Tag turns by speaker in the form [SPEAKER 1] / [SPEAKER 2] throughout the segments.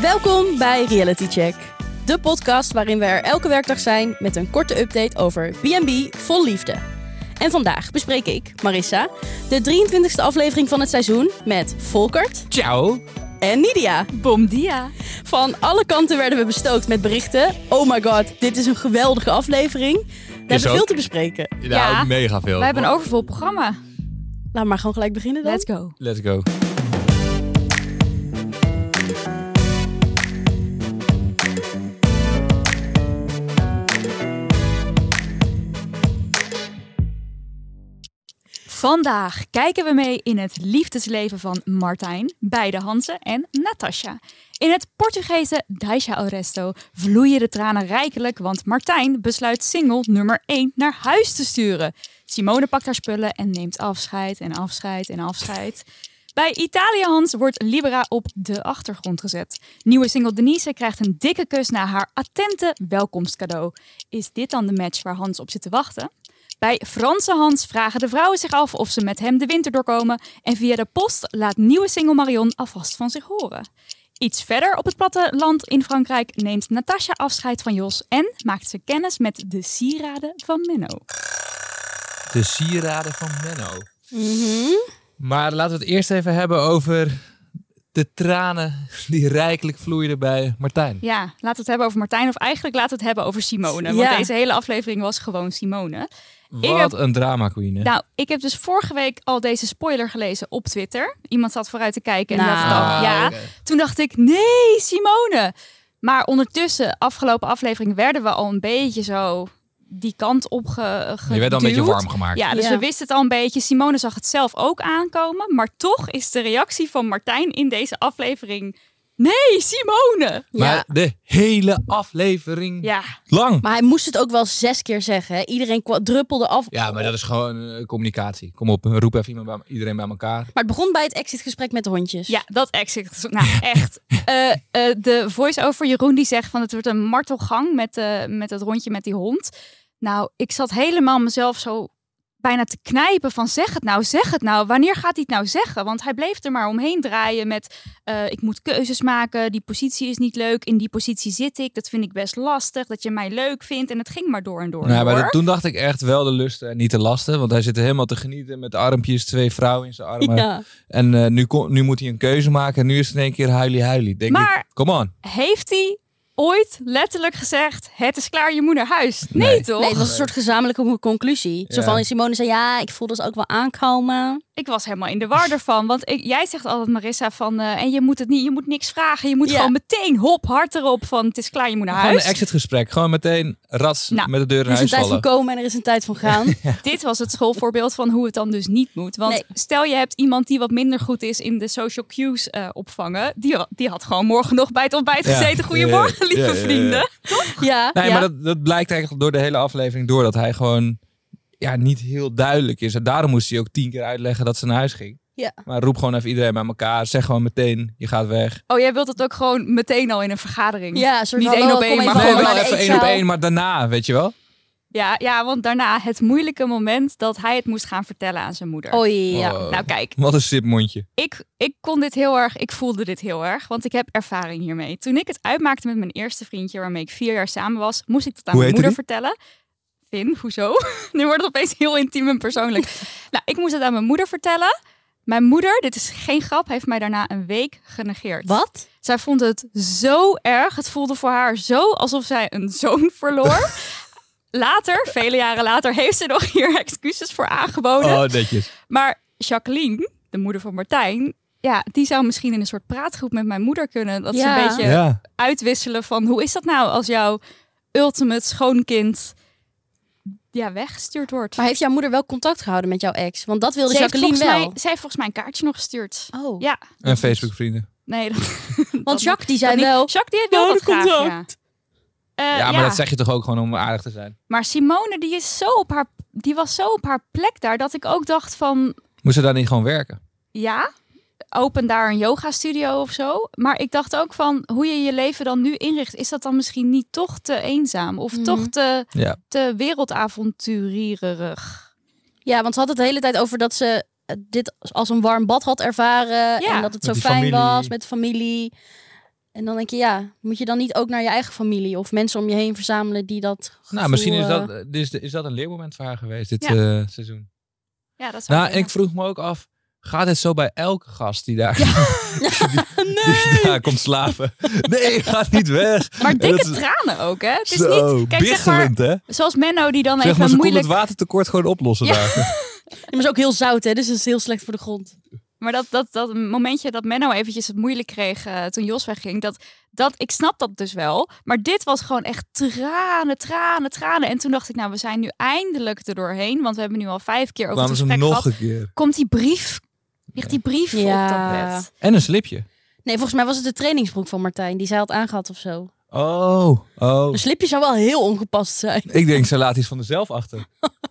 [SPEAKER 1] Welkom bij Reality Check, de podcast waarin we er elke werkdag zijn met een korte update over B&B vol liefde. En vandaag bespreek ik, Marissa, de 23e aflevering van het seizoen met Volkert
[SPEAKER 2] Ciao.
[SPEAKER 1] en Nidia.
[SPEAKER 3] Bom dia.
[SPEAKER 1] Van alle kanten werden we bestookt met berichten. Oh my god, dit is een geweldige aflevering. We hebben
[SPEAKER 2] ook.
[SPEAKER 1] veel te bespreken.
[SPEAKER 2] Nou,
[SPEAKER 3] Ja.
[SPEAKER 2] mega veel.
[SPEAKER 3] Wij hebben een overvol programma.
[SPEAKER 1] Laten we maar gewoon gelijk beginnen dan.
[SPEAKER 3] Let's go.
[SPEAKER 2] Let's go.
[SPEAKER 3] Vandaag kijken we mee in het liefdesleven van Martijn, beide Hansen en Natasha. In het Portugese Daisha Oresto vloeien de tranen rijkelijk, want Martijn besluit single nummer 1 naar huis te sturen. Simone pakt haar spullen en neemt afscheid en afscheid en afscheid. Bij Italië Hans wordt Libera op de achtergrond gezet. Nieuwe single Denise krijgt een dikke kus na haar attente welkomstcadeau. Is dit dan de match waar Hans op zit te wachten? Bij Franse Hans vragen de vrouwen zich af of ze met hem de winter doorkomen. En via de post laat nieuwe single Marion alvast van zich horen. Iets verder op het platteland in Frankrijk neemt Natasha afscheid van Jos en maakt ze kennis met de sieraden van Menno.
[SPEAKER 2] De sieraden van Menno.
[SPEAKER 1] Mhm.
[SPEAKER 2] Maar laten we het eerst even hebben over de tranen die rijkelijk vloeiden bij Martijn.
[SPEAKER 3] Ja, laten we het hebben over Martijn of eigenlijk laten we het hebben over Simone.
[SPEAKER 1] Ja.
[SPEAKER 3] Want deze hele aflevering was gewoon Simone.
[SPEAKER 2] Wat
[SPEAKER 3] heb-
[SPEAKER 2] een drama queen. Hè?
[SPEAKER 3] Nou, ik heb dus vorige week al deze spoiler gelezen op Twitter. Iemand zat vooruit te kijken en
[SPEAKER 1] Nou.
[SPEAKER 3] dacht al,
[SPEAKER 2] Ah,
[SPEAKER 3] ja.
[SPEAKER 2] oké.
[SPEAKER 3] Toen dacht ik, nee, Simone. Maar ondertussen, afgelopen aflevering, werden we al een beetje zo die kant op ge,
[SPEAKER 2] Je werd al een beetje
[SPEAKER 3] geduwd.
[SPEAKER 2] warm gemaakt.
[SPEAKER 3] Ja, dus
[SPEAKER 1] Ja.
[SPEAKER 3] we wisten het al een beetje. Simone zag het zelf ook aankomen. Maar toch is de reactie van Martijn in deze aflevering... Nee, Simone!
[SPEAKER 2] Maar
[SPEAKER 1] Ja.
[SPEAKER 2] de hele aflevering
[SPEAKER 3] Ja,
[SPEAKER 2] lang.
[SPEAKER 1] Maar hij moest het ook wel zes keer zeggen. hè. Iedereen kwa- druppelde af.
[SPEAKER 2] Ja, maar dat is gewoon eh, communicatie. Kom op, roep even iemand bij, iedereen bij elkaar.
[SPEAKER 1] Maar het begon bij het exitgesprek met de hondjes.
[SPEAKER 3] ja dat exit. Nou, echt. Eh, eh, de voice-over Jeroen die zegt van het wordt een martelgang met, eh, met het rondje met die hond. Nou, ik zat helemaal mezelf zo bijna te knijpen van zeg het nou, zeg het nou. Wanneer gaat hij het nou zeggen? Want hij bleef er maar omheen draaien met eh, ik moet keuzes maken, die positie is niet leuk, in die positie zit ik, dat vind ik best lastig, dat je mij leuk vindt. En het ging maar door en door en
[SPEAKER 2] Nou, maar
[SPEAKER 3] door.
[SPEAKER 2] dat- toen dacht ik echt wel de lusten en niet de lasten. Want hij zit er helemaal te genieten met de armpjes, twee vrouwen in zijn armen.
[SPEAKER 1] Ja.
[SPEAKER 2] En eh, nu, kon- nu moet hij een keuze maken. En nu is het in één keer huilie huilie. Denk
[SPEAKER 3] Maar-
[SPEAKER 2] ik, come on.
[SPEAKER 3] Heeft hij ooit letterlijk gezegd, het is klaar, je moet naar huis? Nee,
[SPEAKER 2] Nee.
[SPEAKER 3] toch?
[SPEAKER 1] Nee, het was een soort gezamenlijke conclusie. Zo
[SPEAKER 2] Ja.
[SPEAKER 1] van, Simone zei, ja, ik voel dat ook wel aankomen.
[SPEAKER 3] ik was helemaal in de war ervan. Want ik- jij zegt altijd, Marissa, van eh, en je moet het niet, je moet niks vragen. Je moet
[SPEAKER 1] Ja.
[SPEAKER 3] gewoon meteen hop, hard erop van het is klaar, je moet naar
[SPEAKER 2] Gewoon
[SPEAKER 3] huis.
[SPEAKER 2] een exitgesprek. Gewoon meteen rats
[SPEAKER 3] Nou,
[SPEAKER 2] met de deur
[SPEAKER 1] Er
[SPEAKER 2] naar
[SPEAKER 1] is een
[SPEAKER 2] huis
[SPEAKER 1] tijd van
[SPEAKER 2] vallen.
[SPEAKER 1] komen en er is een tijd van gaan.
[SPEAKER 3] Dit was het schoolvoorbeeld van hoe het dan dus niet moet. Want
[SPEAKER 1] Nee.
[SPEAKER 3] stel je hebt iemand die wat minder goed is in de social cues eh, opvangen. Die, die had gewoon morgen nog bij het ontbijt
[SPEAKER 2] Ja.
[SPEAKER 3] gezeten. Goedemorgen,
[SPEAKER 2] Ja, ja,
[SPEAKER 3] lieve
[SPEAKER 2] ja, ja, ja.
[SPEAKER 3] vrienden.
[SPEAKER 1] ja,
[SPEAKER 2] Nee,
[SPEAKER 1] ja.
[SPEAKER 2] maar dat, dat blijkt eigenlijk door de hele aflevering door. Dat hij gewoon ja, niet heel duidelijk is. En daarom moest hij ook tien keer uitleggen dat ze naar huis ging.
[SPEAKER 1] Ja.
[SPEAKER 2] Maar roep gewoon even iedereen bij elkaar. Zeg gewoon meteen, je gaat weg.
[SPEAKER 3] Oh, jij wilt dat ook gewoon meteen al in een vergadering?
[SPEAKER 1] ja, een soort
[SPEAKER 3] Niet
[SPEAKER 1] hallo,
[SPEAKER 3] één op
[SPEAKER 1] kom
[SPEAKER 3] één, maar
[SPEAKER 1] even
[SPEAKER 3] gewoon
[SPEAKER 2] nee,
[SPEAKER 1] gewoon bij
[SPEAKER 2] wel
[SPEAKER 1] de
[SPEAKER 2] even één op
[SPEAKER 1] eetzaal.
[SPEAKER 2] één, maar daarna, weet je wel.
[SPEAKER 3] Ja, ja, want daarna het moeilijke moment dat hij het moest gaan vertellen aan zijn moeder.
[SPEAKER 1] Oei, ja.
[SPEAKER 2] Oh,
[SPEAKER 3] Nou kijk,
[SPEAKER 2] Wat een sipmondje.
[SPEAKER 3] ik, ik kon dit heel erg, ik voelde dit heel erg, want ik heb ervaring hiermee. Toen ik het uitmaakte met mijn eerste vriendje, waarmee ik vier jaar samen was, moest ik dat aan
[SPEAKER 2] Hoe
[SPEAKER 3] mijn
[SPEAKER 2] heette
[SPEAKER 3] moeder vertellen. Vin, hoezo? nu wordt het opeens heel intiem en persoonlijk. nou, ik moest het aan mijn moeder vertellen. Mijn moeder, dit is geen grap, heeft mij daarna een week genegeerd.
[SPEAKER 1] Wat?
[SPEAKER 3] Zij vond het zo erg. Het voelde voor haar zo alsof zij een zoon verloor. later, vele jaren later, heeft ze nog hier excuses voor aangeboden.
[SPEAKER 2] Oh, netjes.
[SPEAKER 3] Maar Jacqueline, de moeder van Martijn, ja, die zou misschien in een soort praatgroep met mijn moeder kunnen. Dat ze
[SPEAKER 1] Ja.
[SPEAKER 3] een beetje
[SPEAKER 2] Ja.
[SPEAKER 3] uitwisselen van hoe is dat nou als jouw ultimate schoonkind ja, weggestuurd wordt.
[SPEAKER 1] Maar heeft jouw moeder wel contact gehouden met jouw ex? Want dat wilde
[SPEAKER 3] Ze heeft
[SPEAKER 1] Jacqueline
[SPEAKER 3] volgens
[SPEAKER 1] wel.
[SPEAKER 3] Mij, zij heeft volgens mij een kaartje nog gestuurd.
[SPEAKER 1] Oh.
[SPEAKER 3] Ja,
[SPEAKER 2] En Facebook vrienden.
[SPEAKER 3] nee. Dat,
[SPEAKER 1] Want
[SPEAKER 3] dat
[SPEAKER 1] Jacques die
[SPEAKER 3] moet-
[SPEAKER 1] zei
[SPEAKER 3] dat niet.
[SPEAKER 1] wel...
[SPEAKER 3] Jacques die heeft wel
[SPEAKER 1] Ja,
[SPEAKER 3] wat
[SPEAKER 1] dat komt
[SPEAKER 3] graag,
[SPEAKER 1] ook.
[SPEAKER 3] ja. Eh,
[SPEAKER 2] ja, maar dat zeg je toch ook gewoon om aardig te zijn.
[SPEAKER 3] maar Simone die, is zo op haar, die was zo op haar plek daar dat ik ook dacht van
[SPEAKER 2] Moest ze daar niet gewoon werken?
[SPEAKER 3] ja, open daar een yoga studio of zo. Maar ik dacht ook van hoe je je leven dan nu inricht, is dat dan misschien niet toch te eenzaam of
[SPEAKER 1] Mhm.
[SPEAKER 3] toch te,
[SPEAKER 2] Ja.
[SPEAKER 3] te wereldavonturierig?
[SPEAKER 1] Ja, want ze had het de hele tijd over dat ze eh, dit als een warm bad had ervaren.
[SPEAKER 3] Ja.
[SPEAKER 1] En dat het zo
[SPEAKER 2] Met die
[SPEAKER 1] fijn
[SPEAKER 2] familie.
[SPEAKER 1] was met de familie. En dan denk je, ja, moet je dan niet ook naar je eigen familie of mensen om je heen verzamelen die dat. gevoel,
[SPEAKER 2] Nou, misschien is
[SPEAKER 1] eh,
[SPEAKER 2] dat, is, is dat een leermoment voor haar geweest dit
[SPEAKER 3] Ja.
[SPEAKER 2] eh, seizoen.
[SPEAKER 3] Ja, dat is
[SPEAKER 2] Nou, en ik vroeg me ook af, gaat het zo bij elke gast die daar, die
[SPEAKER 1] nee!
[SPEAKER 2] daar komt slapen? Nee, gaat niet weg.
[SPEAKER 3] Maar dikke
[SPEAKER 2] dat is-
[SPEAKER 3] tranen ook, hè? Het is
[SPEAKER 2] zo,
[SPEAKER 3] niet... Kijk, zeg maar,
[SPEAKER 2] biggelend, hè?
[SPEAKER 3] zoals Menno die dan
[SPEAKER 2] Zeg maar,
[SPEAKER 3] even
[SPEAKER 2] ze
[SPEAKER 3] moeilijk...
[SPEAKER 2] kon het watertekort gewoon oplossen
[SPEAKER 3] Ja.
[SPEAKER 2] daar.
[SPEAKER 1] Ja, maar het is ook heel zout, hè? Dus het is heel slecht voor de grond.
[SPEAKER 3] Maar dat, dat, dat momentje dat Menno eventjes het moeilijk kreeg eh, toen Jos wegging, dat, dat, ik snap dat dus wel. Maar dit was gewoon echt tranen, tranen, tranen. En toen dacht ik, nou, we zijn nu eindelijk er doorheen, want we hebben nu al vijf keer over het
[SPEAKER 2] Kwamen ze
[SPEAKER 3] gesprek
[SPEAKER 2] nog
[SPEAKER 3] gehad.
[SPEAKER 2] een keer.
[SPEAKER 3] Komt die brief, ligt die brief op
[SPEAKER 1] Ja.
[SPEAKER 3] dat bed?
[SPEAKER 2] En een slipje.
[SPEAKER 1] Nee, volgens mij was het de trainingsbroek van Martijn die zij had aangehad of zo.
[SPEAKER 2] Oh, oh.
[SPEAKER 1] Een slipje zou wel heel ongepast zijn.
[SPEAKER 2] Ik denk, ze laat iets van zichzelf achter.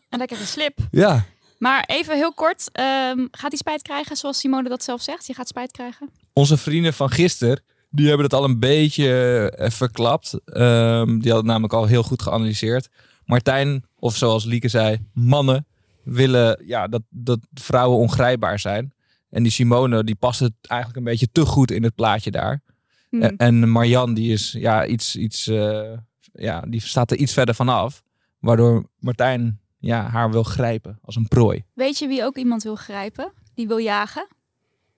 [SPEAKER 3] Een lekkere slip.
[SPEAKER 2] Ja.
[SPEAKER 3] Maar even heel kort, ehm, gaat hij spijt krijgen zoals Simone dat zelf zegt? Je gaat spijt krijgen?
[SPEAKER 2] Onze vrienden van gisteren, die hebben het al een beetje eh, verklapt. Ehm, die hadden het namelijk al heel goed geanalyseerd. Martijn, of zoals Lieke zei, mannen willen ja, dat, dat vrouwen ongrijpbaar zijn. En die Simone, die past het eigenlijk een beetje te goed in het plaatje daar.
[SPEAKER 3] Hm.
[SPEAKER 2] En- En Marjan, die is ja, iets, iets, eh, ja, die staat er iets verder vanaf. Waardoor Martijn ja, haar wil grijpen als een prooi.
[SPEAKER 3] Weet je wie ook iemand wil grijpen? Die wil jagen?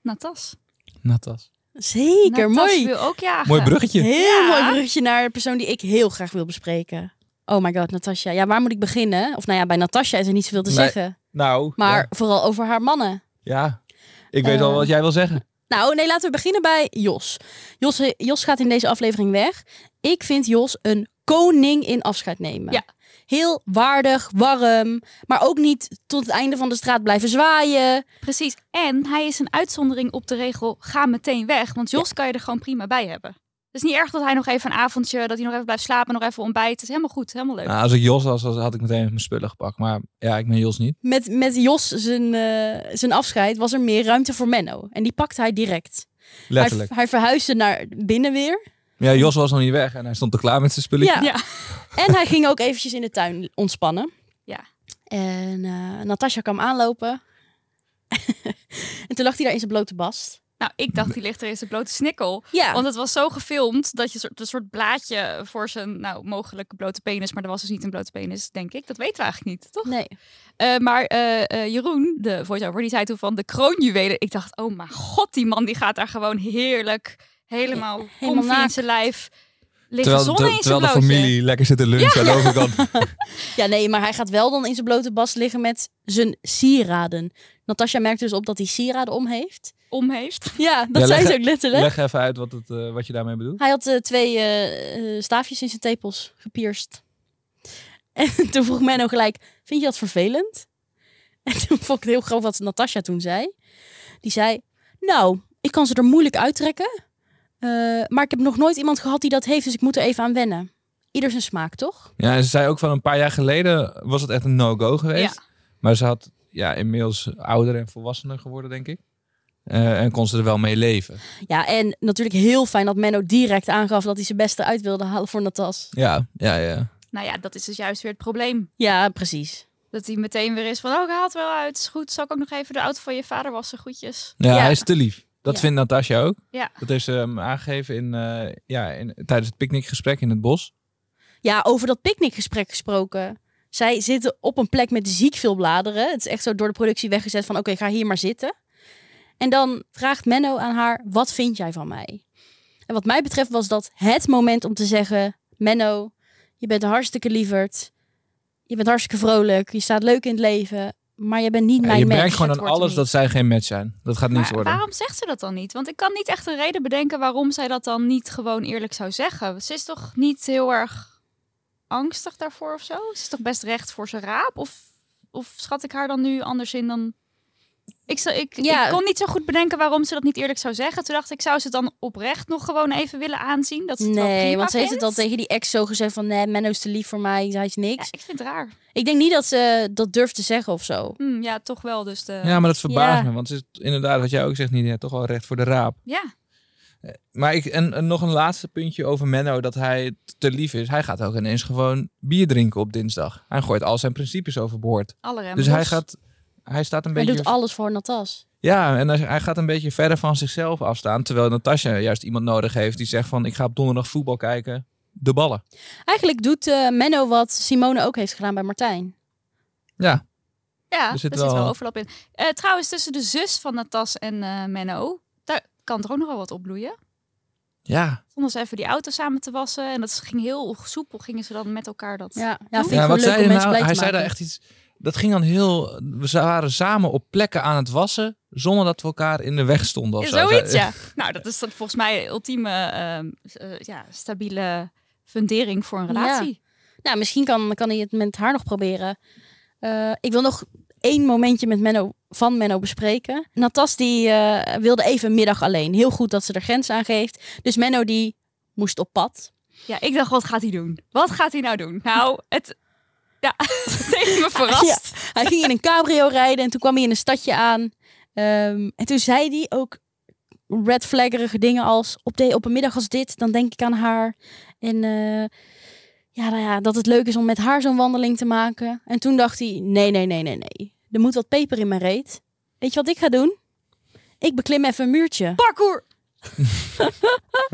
[SPEAKER 3] Natas.
[SPEAKER 2] Natas.
[SPEAKER 1] Zeker,
[SPEAKER 3] Natas
[SPEAKER 1] mooi.
[SPEAKER 3] wil ook jagen.
[SPEAKER 2] Mooi bruggetje.
[SPEAKER 1] Heel
[SPEAKER 3] Ja.
[SPEAKER 1] mooi bruggetje naar de persoon die ik heel graag wil bespreken. Oh my god, Natasja. Ja, waar moet ik beginnen? Of nou ja, bij Natasja is er niet zoveel te
[SPEAKER 2] Nee.
[SPEAKER 1] zeggen.
[SPEAKER 2] Nou,
[SPEAKER 1] Maar
[SPEAKER 2] ja.
[SPEAKER 1] vooral over haar mannen.
[SPEAKER 2] Ja. ik weet
[SPEAKER 1] Eh.
[SPEAKER 2] al wat jij wil zeggen.
[SPEAKER 1] Nou, nee, laten we beginnen bij Jos. Jos. eh, Jos gaat in deze aflevering weg. Ik vind Jos een koning in afscheid nemen.
[SPEAKER 3] Ja.
[SPEAKER 1] Heel waardig, warm, maar ook niet tot het einde van de straat blijven zwaaien.
[SPEAKER 3] Precies. En hij is een uitzondering op de regel: ga meteen weg. Want Jos kan je er gewoon prima bij hebben. Het is niet erg dat hij nog even een avondje, dat hij nog even blijft slapen, nog even ontbijt. Het is helemaal goed, helemaal leuk.
[SPEAKER 2] Nou, als ik Jos was, was- had ik meteen mijn spullen gepakt. Maar ja, ik ben Jos niet.
[SPEAKER 1] Met, met Jos zijn, eh, zijn afscheid was er meer ruimte voor Menno. En die pakte hij direct. Hij,
[SPEAKER 2] Letterlijk.
[SPEAKER 1] hij verhuisde naar binnen weer.
[SPEAKER 2] Ja, Jos was nog niet weg en hij stond er klaar met zijn spullen.
[SPEAKER 1] Ja. En hij ging ook eventjes in de tuin ontspannen.
[SPEAKER 3] Ja.
[SPEAKER 1] En eh Natasja kwam aanlopen. en toen lag hij daar in zijn blote bast.
[SPEAKER 3] Nou, ik dacht, die ligt er in zijn blote snikkel.
[SPEAKER 1] Ja.
[SPEAKER 3] Want het was zo gefilmd dat je soort- een soort blaadje voor zijn, nou, mogelijke blote penis. Maar er was dus niet een blote penis, denk ik. Dat weten we eigenlijk niet, toch?
[SPEAKER 1] Nee.
[SPEAKER 3] Eh, maar eh, eh, Jeroen, de voice-over, die zei toen van de kroonjuwelen. Ik dacht, oh mijn god, die man die gaat daar gewoon heerlijk, helemaal,
[SPEAKER 1] helemaal
[SPEAKER 3] comfy in
[SPEAKER 1] naakt.
[SPEAKER 3] zijn lijf. Liggen
[SPEAKER 2] Terwijl,
[SPEAKER 3] zon
[SPEAKER 2] ter-
[SPEAKER 3] in zijn
[SPEAKER 2] terwijl de
[SPEAKER 3] blootje.
[SPEAKER 2] familie lekker zit te lunchen aan de overkant.
[SPEAKER 1] Ja, nee, maar hij gaat wel dan in zijn blote bast liggen met zijn sieraden. Natasja merkt dus op dat hij sieraden om heeft.
[SPEAKER 3] om heeft.
[SPEAKER 1] Ja, dat
[SPEAKER 2] Ja,
[SPEAKER 1] zei
[SPEAKER 2] leg-
[SPEAKER 1] ze ook letterlijk.
[SPEAKER 2] Leg even uit wat, het, eh, wat je daarmee bedoelt.
[SPEAKER 1] Hij had eh, twee eh, eh, staafjes in zijn tepels gepierst. En toen vroeg Menno gelijk, vind je dat vervelend? En toen vond ik het heel grappig wat Natasja toen zei. Die zei, nou, ik kan ze er moeilijk uittrekken. eh, maar ik heb nog nooit iemand gehad die dat heeft, dus ik moet er even aan wennen. Ieder zijn smaak, toch?
[SPEAKER 2] Ja, en ze zei ook van een paar jaar geleden was het echt een no-go geweest. Maar ze had ja, inmiddels ouder en volwassener geworden, denk ik. Eh, en kon ze er wel mee leven.
[SPEAKER 1] Ja, en natuurlijk heel fijn dat Menno direct aangaf dat hij zijn beste uit wilde halen voor Natas.
[SPEAKER 2] Ja, ja, ja.
[SPEAKER 3] Nou ja, dat is dus juist weer het probleem.
[SPEAKER 1] Ja, precies.
[SPEAKER 3] Dat hij meteen weer is van, oh, ik haal het wel uit. Is goed, zal ik ook nog even de auto van je vader wassen? Goedjes.
[SPEAKER 2] Ja,
[SPEAKER 1] Ja.
[SPEAKER 2] hij is te lief. Dat
[SPEAKER 1] Ja.
[SPEAKER 2] vindt Natasja ook.
[SPEAKER 3] Ja.
[SPEAKER 2] Dat heeft ze hem aangegeven in, eh, ja, in, tijdens het picknickgesprek in het bos.
[SPEAKER 1] Ja, over dat picknickgesprek gesproken. Zij zitten op een plek met ziek veel bladeren. Het is echt zo door de productie weggezet van oké, ga hier maar zitten. En dan vraagt Menno aan haar, wat vind jij van mij? En wat mij betreft was dat het moment om te zeggen... Menno, je bent een hartstikke lieverd. Je bent hartstikke vrolijk. Je staat leuk in het leven. Maar je bent niet
[SPEAKER 2] Ja,
[SPEAKER 1] mijn
[SPEAKER 2] je
[SPEAKER 1] match.
[SPEAKER 2] merkt gewoon
[SPEAKER 3] het
[SPEAKER 2] aan
[SPEAKER 3] wordt hem
[SPEAKER 2] alles
[SPEAKER 3] niet.
[SPEAKER 2] dat zij geen match zijn. Dat gaat niets
[SPEAKER 3] Maar
[SPEAKER 2] worden.
[SPEAKER 3] waarom zegt ze dat dan niet? Want ik kan niet echt een reden bedenken waarom zij dat dan niet gewoon eerlijk zou zeggen. Ze is toch niet heel erg angstig daarvoor of zo? Ze is toch best recht voor zijn raap? Of, of schat ik haar dan nu anders in dan... Ik, zou, ik,
[SPEAKER 1] Ja.
[SPEAKER 3] ik kon niet zo goed bedenken waarom ze dat niet eerlijk zou zeggen. Toen dacht ik, zou ze het dan oprecht nog gewoon even willen aanzien? Dat ze het wel
[SPEAKER 1] Nee,
[SPEAKER 3] prima
[SPEAKER 1] want ze heeft het
[SPEAKER 3] vindt?
[SPEAKER 1] al tegen die ex zo gezegd van... Nee, Menno is te lief voor mij. Hij is niks.
[SPEAKER 3] Ja, ik vind het raar.
[SPEAKER 1] Ik denk niet dat ze dat durft te zeggen of zo.
[SPEAKER 3] Hm, ja, toch wel. Dus de...
[SPEAKER 2] Ja, maar dat
[SPEAKER 1] Ja.
[SPEAKER 2] verbaast me. Want ze is inderdaad, wat jij ook zegt, niet ja, toch wel recht voor de raap.
[SPEAKER 3] ja.
[SPEAKER 2] Maar ik, en, en nog een laatste puntje over Menno, dat hij te lief is. Hij gaat ook ineens gewoon bier drinken op dinsdag. Hij gooit al zijn principes overboord.
[SPEAKER 3] alle remmen
[SPEAKER 2] Dus hij,
[SPEAKER 3] los.
[SPEAKER 2] gaat, hij staat een
[SPEAKER 1] Hij
[SPEAKER 2] beetje...
[SPEAKER 1] doet alles voor Natas.
[SPEAKER 2] Ja, en hij, hij gaat een beetje verder van zichzelf afstaan. Terwijl Natasja juist iemand nodig heeft die zegt van... ik ga op donderdag voetbal kijken. De ballen.
[SPEAKER 1] Eigenlijk doet eh, Menno wat Simone ook heeft gedaan bij Martijn.
[SPEAKER 2] Ja,
[SPEAKER 3] Ja,
[SPEAKER 2] Er
[SPEAKER 3] er
[SPEAKER 2] zit
[SPEAKER 3] zit,
[SPEAKER 2] wel-
[SPEAKER 3] wel... overlap in. Eh, trouwens, tussen de zus van Natas en eh, Menno, daar kan er ook nog wel wat opbloeien.
[SPEAKER 2] ja.
[SPEAKER 3] Stonden ze even die auto samen te wassen en dat ging heel soepel. Gingen ze dan met elkaar dat...
[SPEAKER 1] Ja, ja vind ik
[SPEAKER 2] ja
[SPEAKER 1] wel
[SPEAKER 2] wat
[SPEAKER 1] leuk
[SPEAKER 2] zei
[SPEAKER 1] om
[SPEAKER 2] hij
[SPEAKER 1] mensen
[SPEAKER 2] nou?
[SPEAKER 1] blij te
[SPEAKER 2] Hij zei
[SPEAKER 1] maken.
[SPEAKER 2] daar echt iets... Dat ging dan heel... We waren samen op plekken aan het wassen... zonder dat we elkaar in de weg stonden of zo.
[SPEAKER 3] Zoiets, ja. nou, dat is dan volgens mij ultieme ehm, eh, ja, stabiele fundering voor een
[SPEAKER 1] Ja.
[SPEAKER 3] relatie.
[SPEAKER 1] Nou, misschien kan, kan hij het met haar nog proberen. Eh, ik wil nog één momentje met Menno, van Menno bespreken. Natas die eh, wilde even een middag alleen. Heel goed dat ze er grens aan geeft. Dus Menno die moest op pad.
[SPEAKER 3] Ja. ik dacht, wat gaat hij doen? Wat gaat hij nou doen? Nou, het... Ja, het heeft me verrast.
[SPEAKER 1] Hij ging in een cabrio rijden en toen kwam hij in een stadje aan. Ehm, en toen zei hij ook red flaggerige dingen als... Op, de, op een middag als dit, dan denk ik aan haar. En eh, ja, nou ja, dat het leuk is om met haar zo'n wandeling te maken. En toen dacht hij, nee, nee, nee, nee, nee. Er moet wat peper in mijn reet. Weet je wat ik ga doen? Ik beklim even een muurtje.
[SPEAKER 3] Parkour!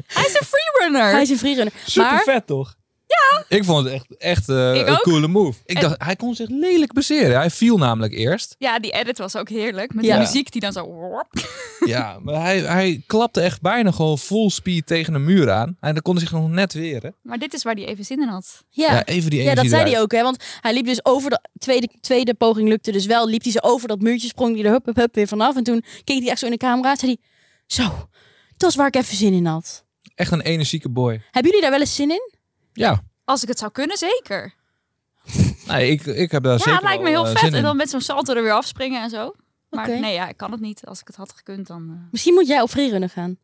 [SPEAKER 3] hij is een freerunner!
[SPEAKER 1] Hij is een freerunner.
[SPEAKER 2] Super
[SPEAKER 1] Maar-
[SPEAKER 2] vet, toch? Ja. Ik vond het echt, echt eh,
[SPEAKER 3] Ik
[SPEAKER 2] een
[SPEAKER 3] ook.
[SPEAKER 2] coole move. Ik
[SPEAKER 3] En-
[SPEAKER 2] dacht, hij kon zich lelijk bezeren. Hij viel namelijk eerst.
[SPEAKER 3] Ja, die edit was ook heerlijk. Met
[SPEAKER 1] Ja.
[SPEAKER 3] die muziek die dan zo...
[SPEAKER 2] ja, maar hij, hij klapte echt bijna gewoon full speed tegen een muur aan. En dan kon hij zich nog net weren.
[SPEAKER 3] Maar dit is waar hij even zin in had.
[SPEAKER 1] Ja.
[SPEAKER 2] Ja, even die energie
[SPEAKER 1] Ja, dat zei
[SPEAKER 2] eruit.
[SPEAKER 1] hij ook, hè? Want hij liep dus over de tweede, tweede poging, lukte dus wel. Liep hij ze over dat muurtje, sprong hij er hup, hup, hup weer vanaf. En toen keek hij echt zo in de camera. Zei hij: Zo, dat is waar ik even zin in had.
[SPEAKER 2] Echt een energieke boy.
[SPEAKER 1] Hebben jullie daar wel eens zin in?
[SPEAKER 2] Ja,
[SPEAKER 3] Als ik het zou kunnen, zeker.
[SPEAKER 2] nee, ik, ik heb daar
[SPEAKER 3] ja,
[SPEAKER 2] zeker
[SPEAKER 3] het lijkt me
[SPEAKER 2] wel,
[SPEAKER 3] heel
[SPEAKER 2] eh,
[SPEAKER 3] vet.
[SPEAKER 2] zin
[SPEAKER 3] En
[SPEAKER 2] in.
[SPEAKER 3] dan met zo'n salto er weer afspringen en zo. Maar
[SPEAKER 1] Oké.
[SPEAKER 3] nee, ja, ik kan het niet. Als ik het had gekund, dan... eh.
[SPEAKER 1] Misschien moet jij op freerunnen gaan.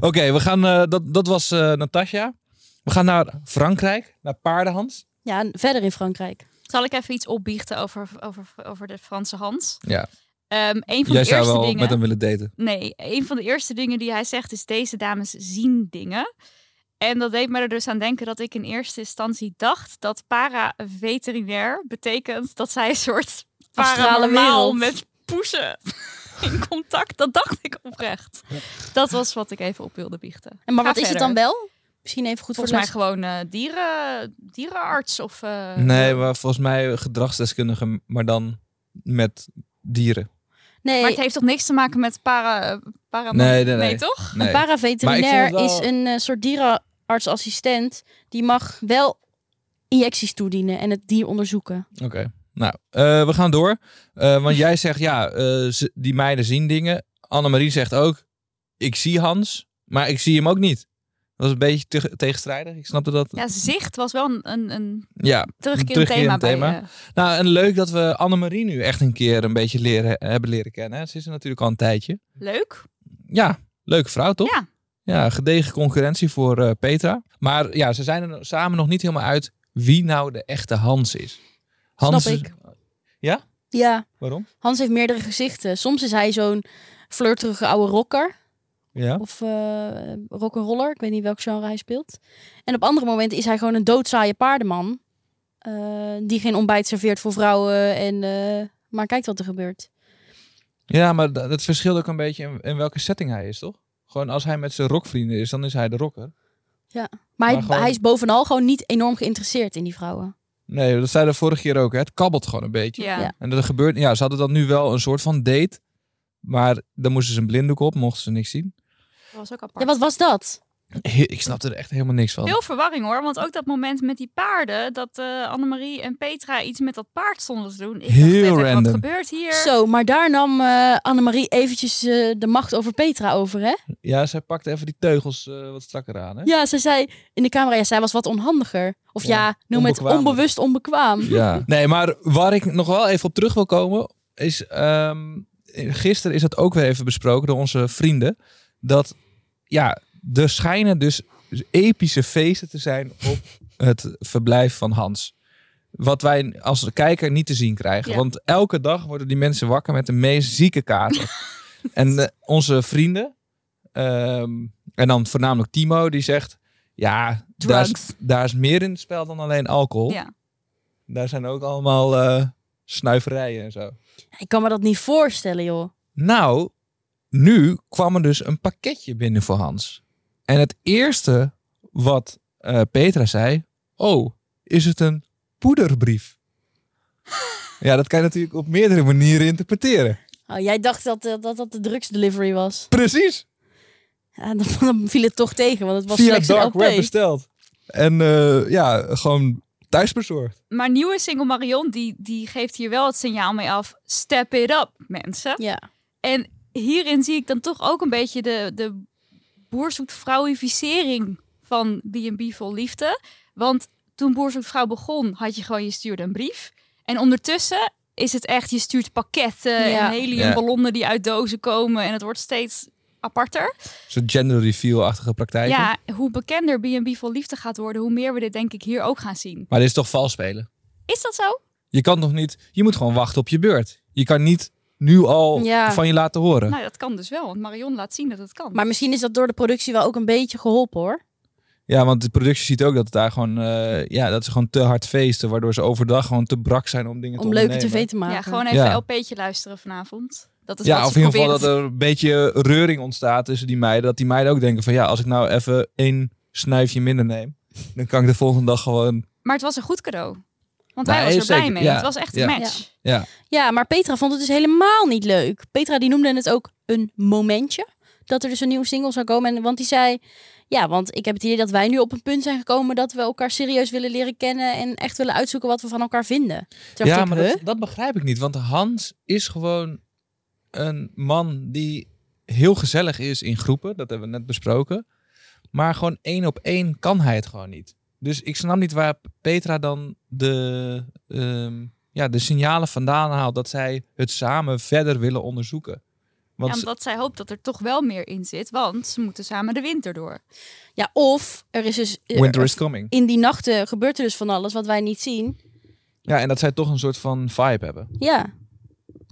[SPEAKER 2] Oké, we gaan, eh, dat, dat was eh Natasja. We gaan naar Frankrijk, naar Paardenhans.
[SPEAKER 1] Ja, en verder in Frankrijk.
[SPEAKER 3] Zal ik even iets opbiechten over, over, over de Franse Hans?
[SPEAKER 2] Ja.
[SPEAKER 3] Ehm een van
[SPEAKER 2] Jij
[SPEAKER 3] de
[SPEAKER 2] zou
[SPEAKER 3] eerste
[SPEAKER 2] wel
[SPEAKER 3] dingen...
[SPEAKER 2] met hem willen daten.
[SPEAKER 3] Nee, een van de eerste dingen die hij zegt is: deze dames zien dingen. En dat deed me er dus aan denken dat ik in eerste instantie dacht dat para-veterinair betekent dat zij een soort
[SPEAKER 1] Astrale
[SPEAKER 3] paranormaal
[SPEAKER 1] wereld.
[SPEAKER 3] met poezen in contact. Dat dacht ik oprecht. Dat was wat ik even op wilde biechten.
[SPEAKER 1] En maar
[SPEAKER 3] Ga
[SPEAKER 1] wat is het
[SPEAKER 3] verder.
[SPEAKER 1] dan wel? Misschien even goed voor de
[SPEAKER 3] Volgens mij
[SPEAKER 1] mensen.
[SPEAKER 3] gewoon eh, dieren, dierenarts of... eh,
[SPEAKER 2] Nee, maar volgens mij gedragsdeskundige, maar dan met dieren.
[SPEAKER 1] Nee,
[SPEAKER 3] Maar het heeft toch niks te maken met para, para
[SPEAKER 2] Nee, nee, nee.
[SPEAKER 3] toch?
[SPEAKER 2] Nee.
[SPEAKER 1] een paraveterinair
[SPEAKER 2] Maar ik vond
[SPEAKER 1] is
[SPEAKER 2] het
[SPEAKER 1] een eh, soort dierenartsassistent. Die mag wel injecties toedienen en het dier onderzoeken.
[SPEAKER 2] Oké. Nou, eh, we gaan door. Eh, want jij zegt, ja, eh, ze- die meiden zien dingen. Annemarie zegt ook, ik zie Hans, maar ik zie hem ook niet. Dat was een beetje te- tegenstrijdig. Ik snapte dat.
[SPEAKER 3] Ja, zicht was wel een, een, een
[SPEAKER 2] Ja.
[SPEAKER 3] terugkerend
[SPEAKER 2] Terugkerend
[SPEAKER 3] thema, bij
[SPEAKER 2] thema.
[SPEAKER 3] eh,
[SPEAKER 2] Nou, en leuk dat we Annemarie nu echt een keer een beetje leren, hebben leren kennen. hè. Ze is er natuurlijk al een tijdje.
[SPEAKER 3] Leuk.
[SPEAKER 2] Ja, leuke vrouw toch?
[SPEAKER 3] Ja.
[SPEAKER 2] Ja, gedegen concurrentie voor eh, Petra. Maar ja, ze zijn er nog- samen nog niet helemaal uit wie nou de echte Hans is. Hans
[SPEAKER 1] Snap ik.
[SPEAKER 2] Ja?
[SPEAKER 1] Ja,
[SPEAKER 2] Waarom?
[SPEAKER 1] Hans heeft meerdere gezichten. Soms is hij zo'n flirterige oude rocker.
[SPEAKER 2] Ja.
[SPEAKER 1] of eh rock'n'roller. Ik weet niet welk genre hij speelt. En op andere momenten is hij gewoon een doodzaaie paardenman. eh, die geen ontbijt serveert voor vrouwen. En, eh, maar kijkt wat er gebeurt.
[SPEAKER 2] Ja, maar dat, dat verschilt ook een beetje in, in welke setting hij is, toch? Gewoon als hij met zijn rockvrienden is, dan is hij de rocker.
[SPEAKER 1] Maar,
[SPEAKER 2] Maar
[SPEAKER 1] hij,
[SPEAKER 2] gewoon-
[SPEAKER 1] hij is bovenal gewoon niet enorm geïnteresseerd in die vrouwen.
[SPEAKER 2] Nee, dat zei de vorige keer ook. Hè? Het kabbelt gewoon een beetje.
[SPEAKER 3] Ja.
[SPEAKER 1] Ja.
[SPEAKER 2] En dat gebeurt. Ja, ze hadden dan nu wel een soort van date. Maar dan moesten ze een blinddoek op, mochten ze niks zien.
[SPEAKER 3] dat was ook apart.
[SPEAKER 1] Ja, wat was dat?
[SPEAKER 2] He- Ik snapte er echt helemaal niks van.
[SPEAKER 3] Veel verwarring hoor, want ook dat moment met die paarden, dat eh Annemarie en Petra iets met dat paard stonden te doen. Ik dacht
[SPEAKER 2] Heel
[SPEAKER 3] even,
[SPEAKER 2] random.
[SPEAKER 3] Wat gebeurt hier?
[SPEAKER 1] Zo, maar daar nam eh Annemarie eventjes eh, de macht over Petra over, hè?
[SPEAKER 2] Ja, zij pakte even die teugels eh, wat strakker aan. Hè?
[SPEAKER 1] Ja, zij zei in de camera, ja, zij was wat onhandiger. Of ja,
[SPEAKER 2] Ja,
[SPEAKER 1] noem het
[SPEAKER 2] onbekwamer.
[SPEAKER 1] onbewust onbekwaam.
[SPEAKER 2] Ja. Nee, maar waar ik nog wel even op terug wil komen, is ehm, gisteren is dat ook weer even besproken door onze vrienden. Dat ja, er schijnen dus epische feesten te zijn op het verblijf van Hans. Wat wij als kijker niet te zien krijgen.
[SPEAKER 3] Ja.
[SPEAKER 2] Want elke dag worden die mensen wakker met de meest zieke kaarten. en eh, onze vrienden, ehm, En dan voornamelijk Timo, die zegt... Ja, daar is,
[SPEAKER 3] Drugs.
[SPEAKER 2] daar is meer in het spel dan alleen alcohol.
[SPEAKER 3] Ja.
[SPEAKER 2] Daar zijn ook allemaal eh, snuiverijen en zo.
[SPEAKER 1] Ik kan me dat niet voorstellen, joh.
[SPEAKER 2] Nou, nu kwam er dus een pakketje binnen voor Hans. En het eerste wat eh, Petra zei... Oh, is het een poederbrief? ja, dat kan je natuurlijk op meerdere manieren interpreteren.
[SPEAKER 1] Oh, jij dacht dat, eh, dat dat de drugsdelivery was.
[SPEAKER 2] Precies!
[SPEAKER 1] Ja, dan, dan viel het toch tegen, want het was
[SPEAKER 2] via
[SPEAKER 1] slechts een
[SPEAKER 2] Dark
[SPEAKER 1] LP.
[SPEAKER 2] Web besteld. En eh, ja, gewoon thuisbezorgd.
[SPEAKER 3] Maar nieuwe single Marion, die, die geeft hier wel het signaal mee af. Step it up, mensen.
[SPEAKER 1] Ja.
[SPEAKER 3] En hierin zie ik dan toch ook een beetje de, de boer zoekt vrouwificering van B&B vol liefde. Want toen boer zoekt vrouw begon, had je gewoon je stuurde een brief. En ondertussen is het echt, je stuurt pakketten
[SPEAKER 1] Ja.
[SPEAKER 3] en heliumballonnen die uit dozen komen. En het wordt steeds aparter.
[SPEAKER 2] Zo'n gender reveal-achtige praktijk.
[SPEAKER 3] Ja, hoe bekender B&B vol liefde gaat worden, hoe meer we dit denk ik hier ook gaan zien.
[SPEAKER 2] Maar dit is toch vals spelen?
[SPEAKER 3] Is dat zo?
[SPEAKER 2] Je kan toch niet... Je moet gewoon wachten op je beurt. Je kan niet nu al
[SPEAKER 1] Ja.
[SPEAKER 2] van je laten horen.
[SPEAKER 3] Nou, dat kan dus wel, want Marion laat zien dat het kan.
[SPEAKER 1] Maar misschien is dat door de productie wel ook een beetje geholpen, hoor.
[SPEAKER 2] Ja, want de productie ziet ook dat het daar gewoon... eh, ja, dat ze gewoon te hard feesten. Waardoor ze overdag gewoon te brak zijn om dingen te
[SPEAKER 1] Om leuke
[SPEAKER 2] ondernemen.
[SPEAKER 1] tv te maken.
[SPEAKER 3] ja, gewoon even
[SPEAKER 2] Ja.
[SPEAKER 3] een LP'tje luisteren vanavond. Dat is
[SPEAKER 2] Ja,
[SPEAKER 3] wat
[SPEAKER 2] of
[SPEAKER 3] ze
[SPEAKER 2] in ieder geval
[SPEAKER 3] probeert.
[SPEAKER 2] dat er een beetje reuring ontstaat tussen die meiden. Dat die meiden ook denken van ja, als ik nou even één snuifje minder neem... dan kan ik de volgende dag gewoon...
[SPEAKER 3] Maar het was een goed cadeau. Want
[SPEAKER 2] Nee,
[SPEAKER 3] hij was er
[SPEAKER 2] zeker,
[SPEAKER 3] blij mee.
[SPEAKER 2] ja,
[SPEAKER 3] Het was echt
[SPEAKER 2] ja.
[SPEAKER 3] een match.
[SPEAKER 2] Ja,
[SPEAKER 1] Ja, maar Petra vond het dus helemaal niet leuk. Petra die noemde het ook een momentje. Dat er dus een nieuwe single zou komen. En, want die zei, ja, want ik heb het idee dat wij nu op een punt zijn gekomen... dat we elkaar serieus willen leren kennen... en echt willen uitzoeken wat we van elkaar vinden. Toen dacht
[SPEAKER 2] ja
[SPEAKER 1] ik,
[SPEAKER 2] maar
[SPEAKER 1] huh?
[SPEAKER 2] dat, dat begrijp ik niet. Want Hans is gewoon een man die heel gezellig is in groepen. Dat hebben we net besproken. Maar gewoon één op één kan hij het gewoon niet. Dus ik snap niet waar Petra dan de, ehm, ja, de signalen vandaan haalt dat zij het samen verder willen onderzoeken.
[SPEAKER 3] Ja,
[SPEAKER 2] Want
[SPEAKER 3] omdat zij hoopt dat er toch wel meer in zit. Want ze moeten samen de winter door.
[SPEAKER 1] Ja, of er is dus... eh,
[SPEAKER 2] winter is coming.
[SPEAKER 1] in die nachten gebeurt er dus van alles wat wij niet zien.
[SPEAKER 2] Ja, en dat zij toch een soort van vibe hebben.
[SPEAKER 1] Ja,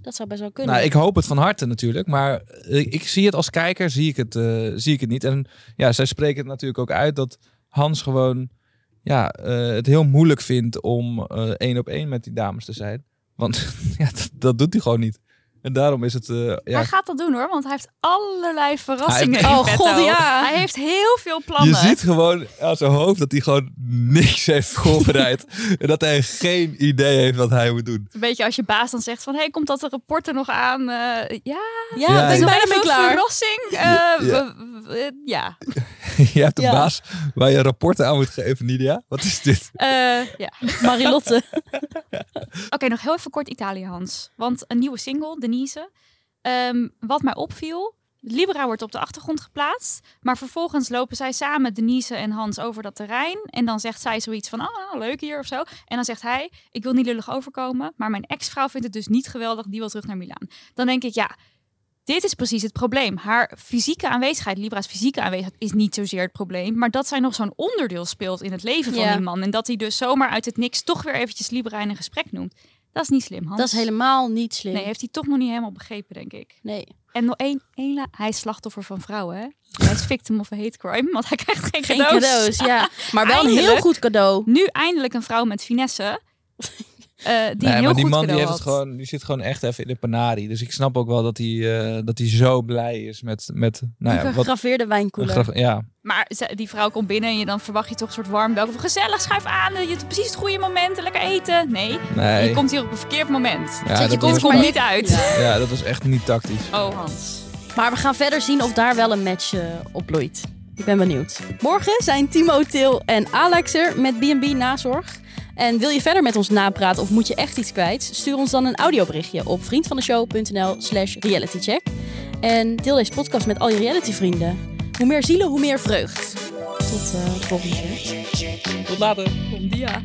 [SPEAKER 1] dat zou best wel kunnen.
[SPEAKER 2] Nou, ik hoop het van harte natuurlijk. Maar eh, ik, ik zie het als kijker, zie ik het, eh, zie ik het niet. En ja, zij spreken het natuurlijk ook uit dat Hans gewoon ja, eh, het heel moeilijk vindt om eh, één op één met die dames te zijn. Want ja, dat, dat doet hij gewoon niet. En daarom is het... eh, ja,
[SPEAKER 3] Hij gaat dat doen hoor, want hij heeft allerlei verrassingen
[SPEAKER 2] Hij
[SPEAKER 3] in
[SPEAKER 1] heeft-
[SPEAKER 3] petto.
[SPEAKER 1] Oh, god, ja.
[SPEAKER 3] Hij heeft heel veel
[SPEAKER 2] je
[SPEAKER 3] plannen.
[SPEAKER 2] ziet gewoon aan zijn hoofd dat hij gewoon niks heeft voorbereid. en dat hij geen idee heeft wat hij moet doen.
[SPEAKER 3] Een beetje als je baas dan zegt van... Hé, hey, komt dat rapport er nog aan? Eh, ja,
[SPEAKER 1] ja,
[SPEAKER 2] Ja,
[SPEAKER 1] ik ben
[SPEAKER 2] ja.
[SPEAKER 1] ik bijna
[SPEAKER 3] even
[SPEAKER 1] mee
[SPEAKER 3] een
[SPEAKER 1] klaar.
[SPEAKER 3] verrassing. Eh,
[SPEAKER 2] Ja, ja.
[SPEAKER 3] we- we- eh, ja.
[SPEAKER 2] je hebt een
[SPEAKER 1] Ja.
[SPEAKER 2] baas waar je rapporten aan moet geven, Nidia. Wat is dit?
[SPEAKER 3] Eh, ja.
[SPEAKER 1] Marilotte.
[SPEAKER 3] Oké, nog heel even kort Italië, Hans. Want een nieuwe single, Denise. Ehm, wat mij opviel, Libera wordt op de achtergrond geplaatst. Maar vervolgens lopen zij samen, Denise en Hans, over dat terrein. En dan zegt zij zoiets van, oh, nou, leuk hier of zo. En dan zegt hij, ik wil niet lullig overkomen. Maar mijn ex-vrouw vindt het dus niet geweldig, die wil terug naar Milaan. Dan denk ik, ja... Dit is precies het probleem. Haar fysieke aanwezigheid, Libra's fysieke aanwezigheid, is niet zozeer het probleem. Maar dat zij nog zo'n onderdeel speelt in het leven van
[SPEAKER 1] Ja.
[SPEAKER 3] die man. En dat hij dus zomaar uit het niks toch weer eventjes Libra in een gesprek noemt. Dat is niet slim, Hans.
[SPEAKER 1] Dat is helemaal niet slim.
[SPEAKER 3] Nee, heeft hij toch nog niet helemaal begrepen, denk ik.
[SPEAKER 1] nee.
[SPEAKER 3] En nog één, één la- hij is slachtoffer van vrouwen, hè? Hij is victim of a hate crime, want hij krijgt geen,
[SPEAKER 1] Geen
[SPEAKER 3] cadeaus.
[SPEAKER 1] cadeaus. ja. Maar wel een heel
[SPEAKER 3] Eindelijk.
[SPEAKER 1] goed cadeau.
[SPEAKER 3] Nu eindelijk een vrouw met finesse, eh, die een
[SPEAKER 2] nee,
[SPEAKER 3] heel
[SPEAKER 2] maar die
[SPEAKER 3] goed
[SPEAKER 2] man die
[SPEAKER 3] cadeau
[SPEAKER 2] heeft
[SPEAKER 3] had.
[SPEAKER 2] het gewoon, die zit gewoon echt even in de panarie. Dus ik snap ook wel dat hij, eh, dat hij zo blij is met, met nou ja,
[SPEAKER 1] een
[SPEAKER 2] wat,
[SPEAKER 1] gegraveerde wijnkoeler.
[SPEAKER 2] graf- ja.
[SPEAKER 3] Maar ze- die vrouw komt binnen en je, dan verwacht je toch een soort warm welkom. Gezellig, schuif aan, eh, je hebt precies het goede moment, lekker eten. Nee,
[SPEAKER 2] Nee.
[SPEAKER 3] je komt hier op een verkeerd moment.
[SPEAKER 2] Ja,
[SPEAKER 1] Zet je
[SPEAKER 2] dat
[SPEAKER 1] kont
[SPEAKER 2] was-
[SPEAKER 1] maar
[SPEAKER 3] komt niet uit.
[SPEAKER 1] Ja.
[SPEAKER 2] ja, dat was echt niet tactisch.
[SPEAKER 3] Oh, Hans.
[SPEAKER 1] Maar we gaan verder zien of daar wel een match eh, opbloeit. Ik ben benieuwd. Morgen zijn Timo, Til en Alex er met B&B Nazorg. En wil je verder met ons napraten of moet je echt iets kwijt? Stuur ons dan een audioberichtje op vriendvandeshow.nl slash realitycheck. En deel deze podcast met al je realityvrienden. Hoe meer zielen, hoe meer vreugd. Tot eh, de volgende keer.
[SPEAKER 2] Tot later.
[SPEAKER 3] Kom, dia.